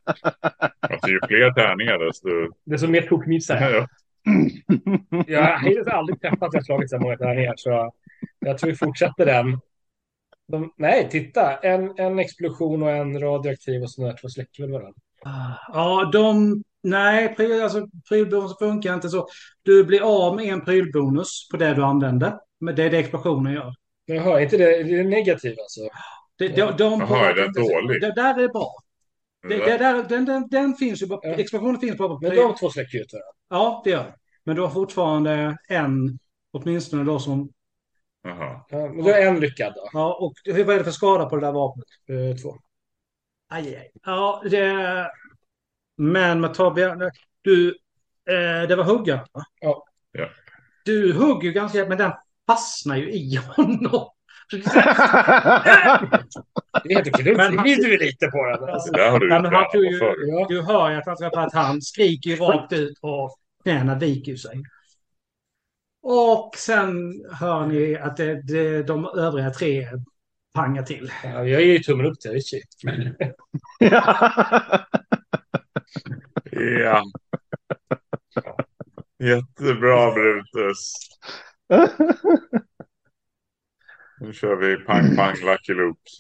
E: Alltså, ju fler tärningar desto...
C: Det är som mer tokmissar.
E: Ja.
C: Jag har hittills aldrig träffat att jag slagit så här många tärningar, så jag tror vi fortsätter den. De, nej, titta! En, en explosion och en radioaktiv och sådana där två släcker väl varandra.
B: Ja, de... Nej, pryl, alltså, prylbonus funkar inte så. Du blir av med en prylbonus på det du använde. Men det är det explosionen gör.
C: Men jag hör inte det, det är negativt alltså.
B: Det, de, de
E: Jaha,
B: påverkar
E: är den
B: inte så-
E: dålig?
B: Det där är bra. Det, det där, den, den, den finns ju bara...
C: Ja.
B: Explosionen finns bara på
C: Men
B: pryl.
C: de två släcker ut varandra.
B: Ja, det gör den. Men du har fortfarande en, åtminstone då som...
E: Jaha.
C: Ja, men då är en lyckad då.
B: Ja, och hur, vad är det för skada på det där vapnet?
C: Eh, Två.
B: Aj, aj. Ja, det... Men Matabian, du... Eh, det var hugga, va?
C: Ja.
E: Ja.
B: Du hugger ju ganska... Men den fastnar ju i honom. Så det är så här,
C: Det är helt okej. Du
B: Men han-
C: vrider ju lite på den. Alltså.
E: Det där har du
B: Ja, men han
E: tränat
B: tog ju-
E: på förr.
C: Ja.
B: Du hör ju att han, att han skriker ju rakt ut och knäna viker ju sig. Och sen hör ni att det, det, de övriga tre pangar till.
C: Ja, Jag ger ju tummen upp till Avicii.
E: Ja. Jättebra Brutus. Nu kör vi pang pang lucky loops.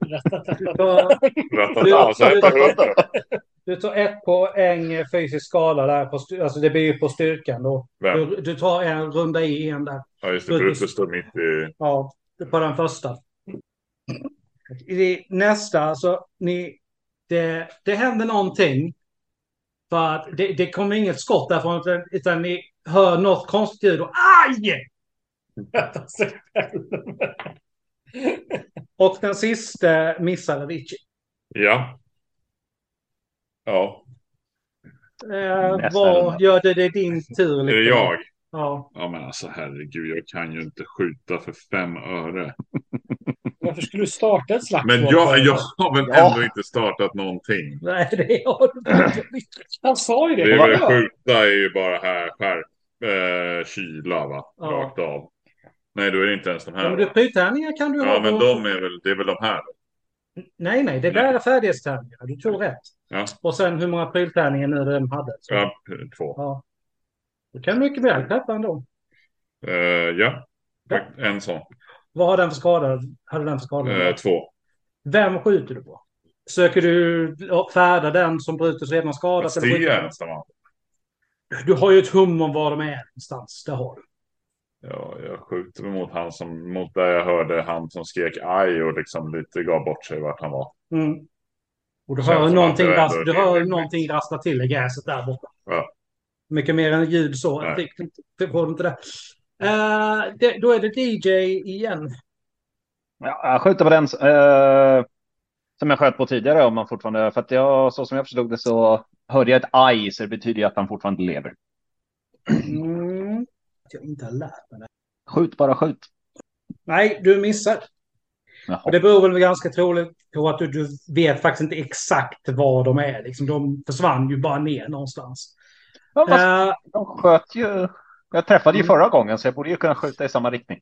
B: Du tar,
E: Ratata. Så här på hunden.
B: du tar ett poäng fysisk skala där. På, styr- alltså det blir ju på styrkan då.
E: Vem?
B: Du, du tar en runda i en där.
E: Ja just det, Brutus står mitt i...
B: Ja, på den första. I nästa, så ni, det, det händer någonting. För att det, det kommer inget skott därifrån, utan, utan ni hör något konstigt ljud och aj!
C: Alltså,
B: Och den sista missade Avicii.
E: Ja. Ja,
B: Eh,
D: Nästa runda.
B: vad gör det? Det är din tur.
E: är det
B: liksom.
E: jag?
B: Ja.
E: Ja men alltså herregud, jag kan ju inte skjuta för fem öre.
C: Varför skulle du starta ett slagsmål?
E: Men jag, jag har väl
D: Ja.
E: ändå inte startat någonting.
B: Nej, det har du inte.
C: Han sa ju det.
E: Det är
C: Vad
E: väl
C: bra.
E: skjuta är ju bara här skärp, eh, kyla va?
B: Ja.
E: Rakt av. Nej, då är det inte ens de
B: Ja,
E: här.
B: men du,
E: va?
B: Pryltärningar kan du
E: Ja,
B: ha.
E: men
B: på-
E: de är väl, det är väl de här.
B: Nej, nej, det där är färdighetstärningar. Du tog rätt.
E: Ja.
B: Och sen hur många pryltärningar nu den hade. Så.
E: Ja, två.
B: Ja. Du kan mycket väl träffa ändå.
E: Eh, ja, en sån.
B: Vad har den för skada? Hade den för skada?
E: Eh, två.
B: Vem skjuter du på? Söker du färda den som Brutus redan skadat?
E: Fast
B: eller skjuter
E: det
B: du
E: är
B: den?
E: nästan va?
B: Du har ju ett hum om var de är någonstans. Det har du.
E: Ja, jag skjuter väl mot han som, mot där jag hörde han som skrek aj och liksom lite gav bort sig vart han var.
B: Mm. Och du
E: Känns
B: hör,
E: som
B: någonting,
E: att det är
B: rast,
E: ändå
B: du hör
E: rimligt.
B: någonting rassla till i gräset där borta.
E: Ja.
B: Mycket mer än ljud så.
E: Nej.
B: Det- det- Det får du inte det. Eh, det. Då är det DJ igen.
D: Ja, jag skjuter på den eh, som jag sköt på tidigare om man fortfarande... För att jag, så som jag förstod det så Hörde jag ett aj så det betyder ju att han fortfarande lever.
B: Mm. Att jag inte har lärt mig det.
D: Skjut bara, skjut.
B: Nej, du missar. Och
D: Jaha.
B: det beror väl ganska troligt på att du, du vet faktiskt inte exakt var de är. Liksom, de försvann ju bara ner någonstans.
D: Ja, vad-
B: Eh,
D: De sköt ju. Jag träffade ju
B: Mm.
D: förra gången så jag borde ju kunna skjuta i samma riktning.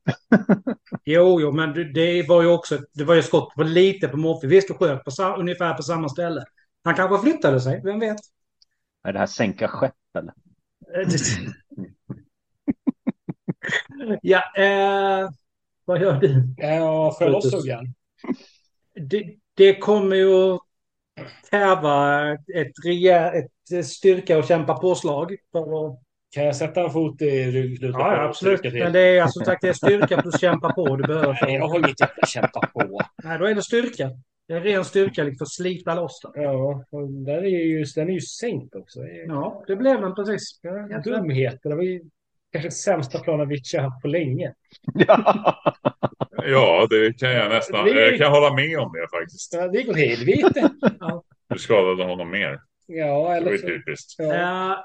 B: jo, jo, men det- det var ju också det var ju skott på lite på Morphy. Visst, du sköt på, sa- ungefär på samma ställe. Han kanske flyttade sig, vem vet?
D: Är det här sänka skepp eller?
B: Eh, det- ja, eh, vad gör du?
C: Ja, får jag loss sugan?
B: Det, det kommer ju att kräva ett, rejä- ett styrka och kämpa påslag för att
C: Kan jag sätta en fot i ryggknuten?
B: Ja, ja,
C: och
B: absolut.
C: trycka till?
B: Men det är alltså, som sagt det är styrka plus kämpa på du behöver.
C: Nej,
B: För.
C: jag har inget jävla kämpa på.
B: Nej, då är det styrka. Det är ren styrka liksom, för att slita loss den.
C: Ja, och där är ju, den är ju sänkt också. Det är-
B: Ja, det blev den precis.
C: Ja, dumheter. Det var ju kanske sämsta plan Avicii har haft på länge.
D: Ja.
E: Ja, det kan jag nästan.
C: Det-
E: Jag kan hålla med om det faktiskt.
C: Ja, Det går helvete.
E: Du skadade honom mer.
C: Ja,
E: Det var
C: eller
E: ju
C: så.
E: typiskt.
C: Ja.
B: Eh,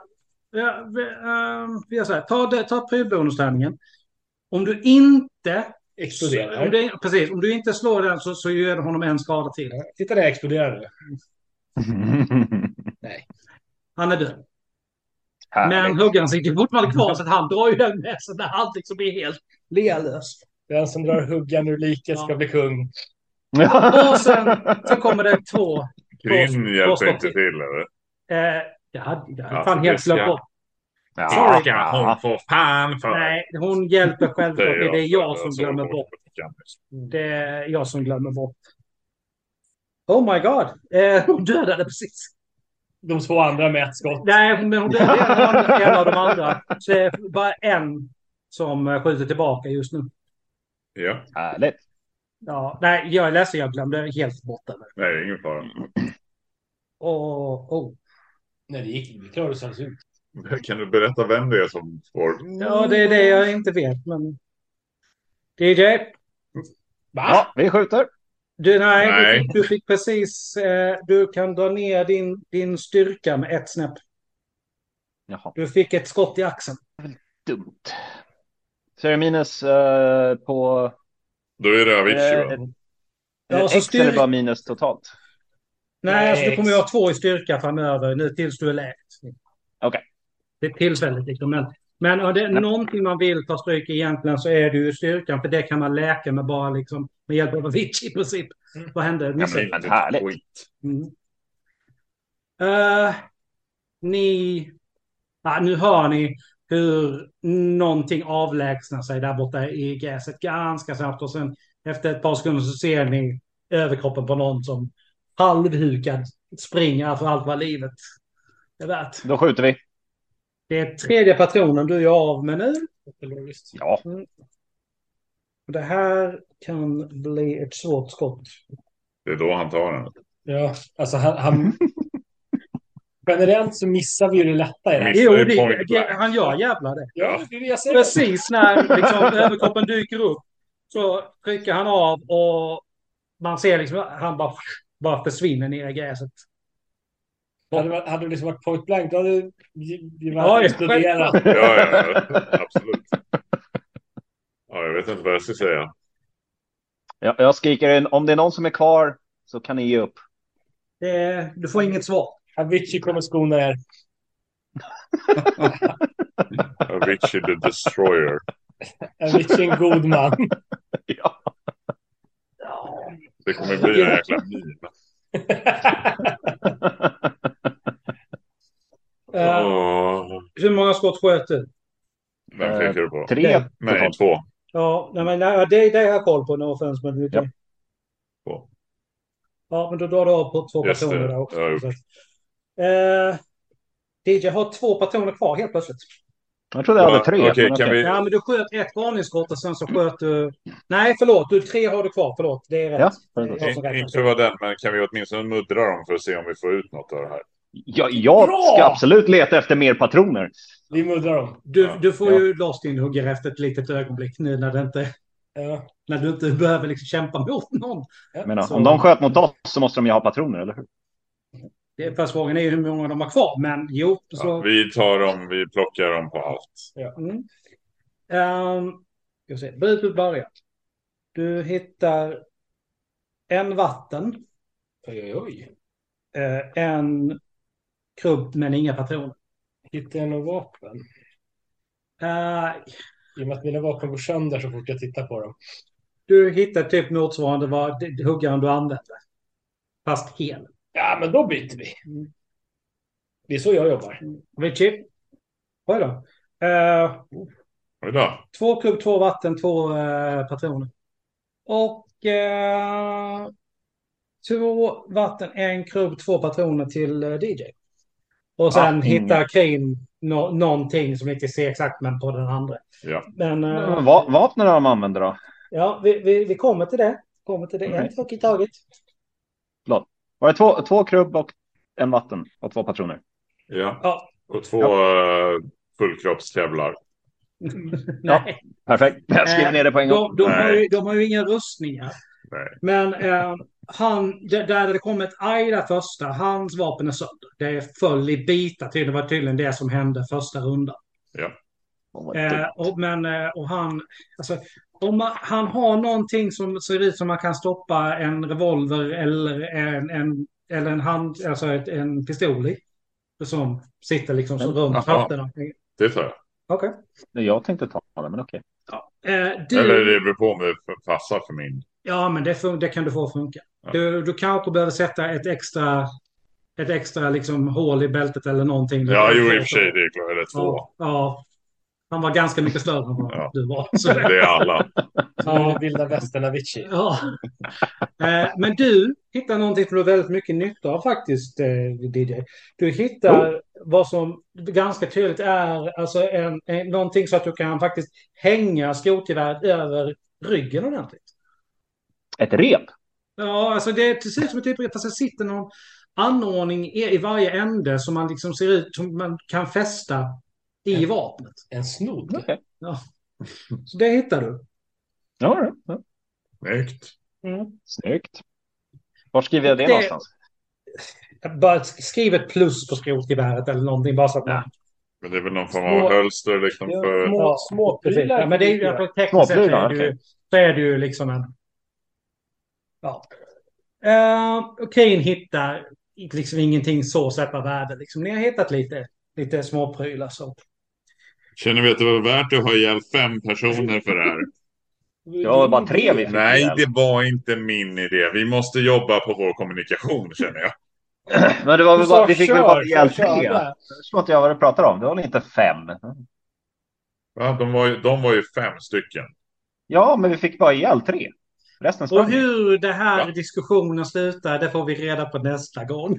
B: ja, vi, eh, vi gör så här. Ta, det, ta prylbonustärningen. Om du inte...
C: Exploderar.
B: Om du, precis, om du inte slår den så, så gör det honom en skada till.
C: Ja, Titta där, jag exploderar nu.
B: Han är död. Men
D: Härligt.
B: huggaren sitter fortfarande kvar så att han drar ju den med sig när han liksom blir helt lealös.
C: Den som drar huggan ur liket ska
B: Ja.
C: bli kung.
B: Och sen så kommer det två... eh,
E: Krym hjälper
B: Rostock-
E: inte till eller?
B: Eh, det hade jag hade
E: Ja,
B: fan
E: det
B: helt
E: ska-
B: glömt bort.
D: Ja.
E: Sorry, hon får fan för.
B: Nej, hon hjälper
E: Det
B: självklart.
E: är Alltså,
B: Det är jag
E: så-
B: som
E: så-
B: glömmer bort.
E: liksom-
B: Det är jag som glömmer bort. Oh my god. Eh, hon dödade precis.
C: De två andra med ett skott.
B: Nej, men hon dödade en av de andra- en av de andra. Så det är bara en som eh, skjuter tillbaka just nu.
E: Ja,
D: Härligt.
B: Ja, nej, jag är ledsen. Jag glömde helt bort det.
E: nej, ingen fara.
B: Och, oh.
C: Nej, det gick. Vi klarade oss alldeles ut.
E: Kan du berätta vem det är som får?
B: Ja, det är det jag inte vet. Men... DJ,
C: Va?
D: Ja, vi skjuter.
B: du, nej, Du,
E: Nej.
B: fick, du fick precis... Eh, du kan dra ner din, din styrka med ett snäpp.
D: Jaha,
B: Du fick ett skott i axeln.
D: dumt. Så är det minus eh, på...
E: Då är det Avicii va?
D: Eh,
B: Ja,
D: eh,
B: så
D: X
B: styr-
D: eller bara minus totalt?
B: Nej,
C: Nej,
B: alltså, du kommer ju
C: ex-
B: ha två i styrka framöver nu tills du är läkt.
D: Okej.
B: Det är tillfälligt liksom. Men, men om det är
D: Nej.
B: någonting man vill ta stryk egentligen så är det ju styrkan. För det kan man läka med bara liksom med hjälp av Avicii i princip.
C: Mm.
B: Vad hände?
E: Ja,
B: Missade.
E: men inte
D: Härligt.
E: skit.
B: Mm. Eh, ni... Ja, nu hör ni hur någonting avlägsnar sig där borta i gräset ganska snabbt. Och sen efter ett par sekunder så ser ni överkroppen på någon som halvhukad springer för allt vad livet är värt.
D: Då skjuter vi.
B: Det är tredje patronen du är av med nu.
C: Jättelogiskt.
D: Ja,
B: Det här kan bli ett svårt skott.
E: Det är då han tar den.
C: Ja, alltså han... han... Generellt så missar vi ju det lätta i det här.
E: Missar
B: Jo,
E: ju
B: det,
E: point blank.
B: det, han gör jävlar det.
C: Ja, det är det jag säger.
B: precis när liksom, överkroppen dyker upp så trycker han av och man ser liksom att han bara, bara försvinner ner i gräset.
C: Hade, det varit- hade det liksom varit point blank, då hade vi- vi
B: Ja, ja,
C: varit studerat.
E: Ja, ja, ja, absolut. Ja, jag vet inte vad jag ska säga.
D: jag, jag skriker in. Om det är någon som är kvar så kan ni ge upp.
B: Det, du får inget svar.
C: Avicii kommer skona er.
E: Avicii the destroyer.
C: Avicii är en god man.
D: Ja.
E: Det kommer bli en jäkla min.
B: Eh,
E: Åh,
B: Hur många skott sköt du?
E: Vem pekar du på?
D: Tre
B: Nej.
E: Nej,
D: totalt.
E: två.
B: Ja, nej, men, nej, det, det har jag koll på. No offense, men
D: Ja.
E: Två.
B: ja, men då drar du av på två
E: Just
B: personer
E: det.
B: där också.
E: Ja, jo.
B: så att, eh, DJ har två personer kvar helt plötsligt.
D: Jag trodde jag hade tre.
E: Okej,
D: men
E: kan vi-
B: Ja, men du sköt ett varningsskott och sen så sköt du... Nej, förlåt. Du, tre har du kvar. Förlåt. Det är rätt. Det
D: Ja,
B: är jag som
E: In,
B: räknar.
E: inte vad den, men kan vi åtminstone muddra dem för att se om vi får ut något av det här?
D: Jag, jag
C: Bra!
D: ska absolut leta efter mer patroner.
C: Vi muddrar dem.
B: Du,
E: Ja,
B: du får
D: ja.
B: ju loss din huggare efter ett litet ögonblick nu när, det inte,
C: Ja.
B: när du inte behöver liksom kämpa mot någon.
C: Ja.
D: Jag menar,
B: Så-
D: om de sköt mot oss så måste de ju ha patroner, eller hur?
B: Det- Fast frågan är ju hur många de har kvar. Men jo, så...
E: Ja, vi tar dem, vi plockar dem på allt.
B: Mm. Um, jag ser, brutet börjar. Du hittar en vatten,
C: Oj, oj, oj.
B: eh, en krubb men inga patroner.
C: Hittar jag några vapen?
B: Eh,
C: I och med att mina vapen går sönder så fort jag tittar på dem.
B: du hittar typ motsvarande vad d- huggaren du använde. Fast hel.
C: Ja, men då byter vi.
B: Mm.
C: Det är så jag jobbar.
B: Richie? Oj då. Eh,
E: Oj då.
B: två krubb, två vatten, två eh, patroner. Och eh, två vatten, en krubb, två patroner till eh, DJ. Och sen
D: Ah,
B: hittar Kane nå- någonting som vi inte ser exakt, men på den andra.
E: Ja.
B: Men eh,
D: Men va- Vapnen de använder då?
B: ja, vi, vi, vi kommer till det. Kommer till det. En
D: Right.
B: sak i taget.
D: Var det två, två krubb och en vatten och två patroner?
E: Ja.
B: Ja.
E: Och två eh, fullkroppskevlar.
D: Ja.
B: Nej.
D: Perfekt. Jag skriver
B: Eh,
D: ner det på en
B: De,
D: gång.
B: de, har
E: Nej.
B: ju, de har ju inga rustningar.
E: Nej.
B: Men eh, han, där där det kom ett aj där första, hans vapen är sönder. Det föll i bitar, till. det var tydligen det som hände första rundan.
D: Åh, vad
B: Eh,
D: dumt.
B: och, men, eh, och han, alltså, om man, han har någonting som ser ut som man kan stoppa en revolver eller en, en, eller en hand, alltså ett, en pistol i. Som sitter liksom så runt
E: Jaha.
B: fötterna.
E: Det tar jag.
B: Okej.
D: Nej, Jag tänkte ta den, men okej.
B: Eh, du-
E: Eller det beror på om det passar för min.
B: Ja, men det, fun- det kan du få att funka.
E: Ja.
B: Du, du kanske behöver sätta ett extra, ett extra liksom, hål i bältet eller någonting.
E: Ja, jo i och för sig, det är klart. Eller två.
B: Ja, ja. Han var ganska mycket större än vad
E: Ja.
B: du var. Så,
E: Det är alla.
C: Ja. Vilda västern Avicii.
B: ja. Eh, Men du hittar någonting som du har väldigt mycket nytta av faktiskt, eh, DJ. Du hittar vad som ganska tydligt är alltså en, en, någonting så att du kan faktiskt hänga skrotgeväret över ryggen ordentligt.
D: Ett rep?
B: Ja, alltså det är precis som ett typ, fast det sitter någon anordning i, i varje ände som man liksom ser ut som man kan fästa i vapnet.
C: En snodd.
D: Okej.
B: Så det hittar du.
D: Ja, ja, ja.
E: Snyggt.
D: Snyggt. Var skriver jag det,
B: Det-
D: någonstans?
B: Bara skriv ett plus på skrotgeväret eller någonting bara så att man...
E: Men det är väl någon form
C: Små-
E: av hölster liksom
C: Ja,
E: för...
C: Små, små
B: Precis.
C: prylar.
B: Ja, men det är ju, alltså, tekniskt sett så är
D: Småprylar,
B: det ju,
D: okej.
B: så är det ju liksom en... Ja. Uh, Kane hittar liksom ingenting så sett av värde. Liksom. Ni har hittat lite, lite småprylar så.
E: Känner vi att det var värt att ha ihjäl fem personer för det här?
D: Jag har bara tre vi fick
E: Nej,
D: ihjäl.
E: det var inte min idé. Vi måste jobba på vår kommunikation känner jag.
D: Men det var
C: Du
D: väl
C: sa
D: bara, vi fick väl
C: kör,
D: bara ihjäl
C: kör, kör,
D: tre?
C: där.
D: Det förstår inte jag vad du pratar om. Det var väl inte fem?
E: Va? De, var ju, de var ju fem stycken.
D: Ja, men vi fick bara ihjäl tre. Resten
B: Och
D: sprang.
B: hur det här
E: Ja.
B: diskussionen slutar, det får vi reda på nästa gång.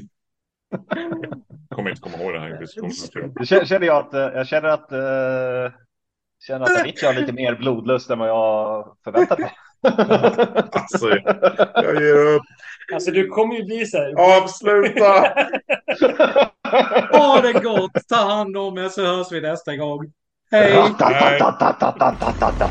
E: Kommer inte komma ihåg den här diskussionen. tror jag.
D: Det kä- känner jag att, eh, jag känner att, eh, känner att Avicii har lite mer blodlust än vad jag förväntat mig.
E: Alltså, jag ger upp.
C: Alltså du kommer ju bli så här.
E: Oh, Avsluta!
B: Ha det gott, ta hand om er så hörs vi nästa gång. Hej!
D: Ratatatatatatatatata.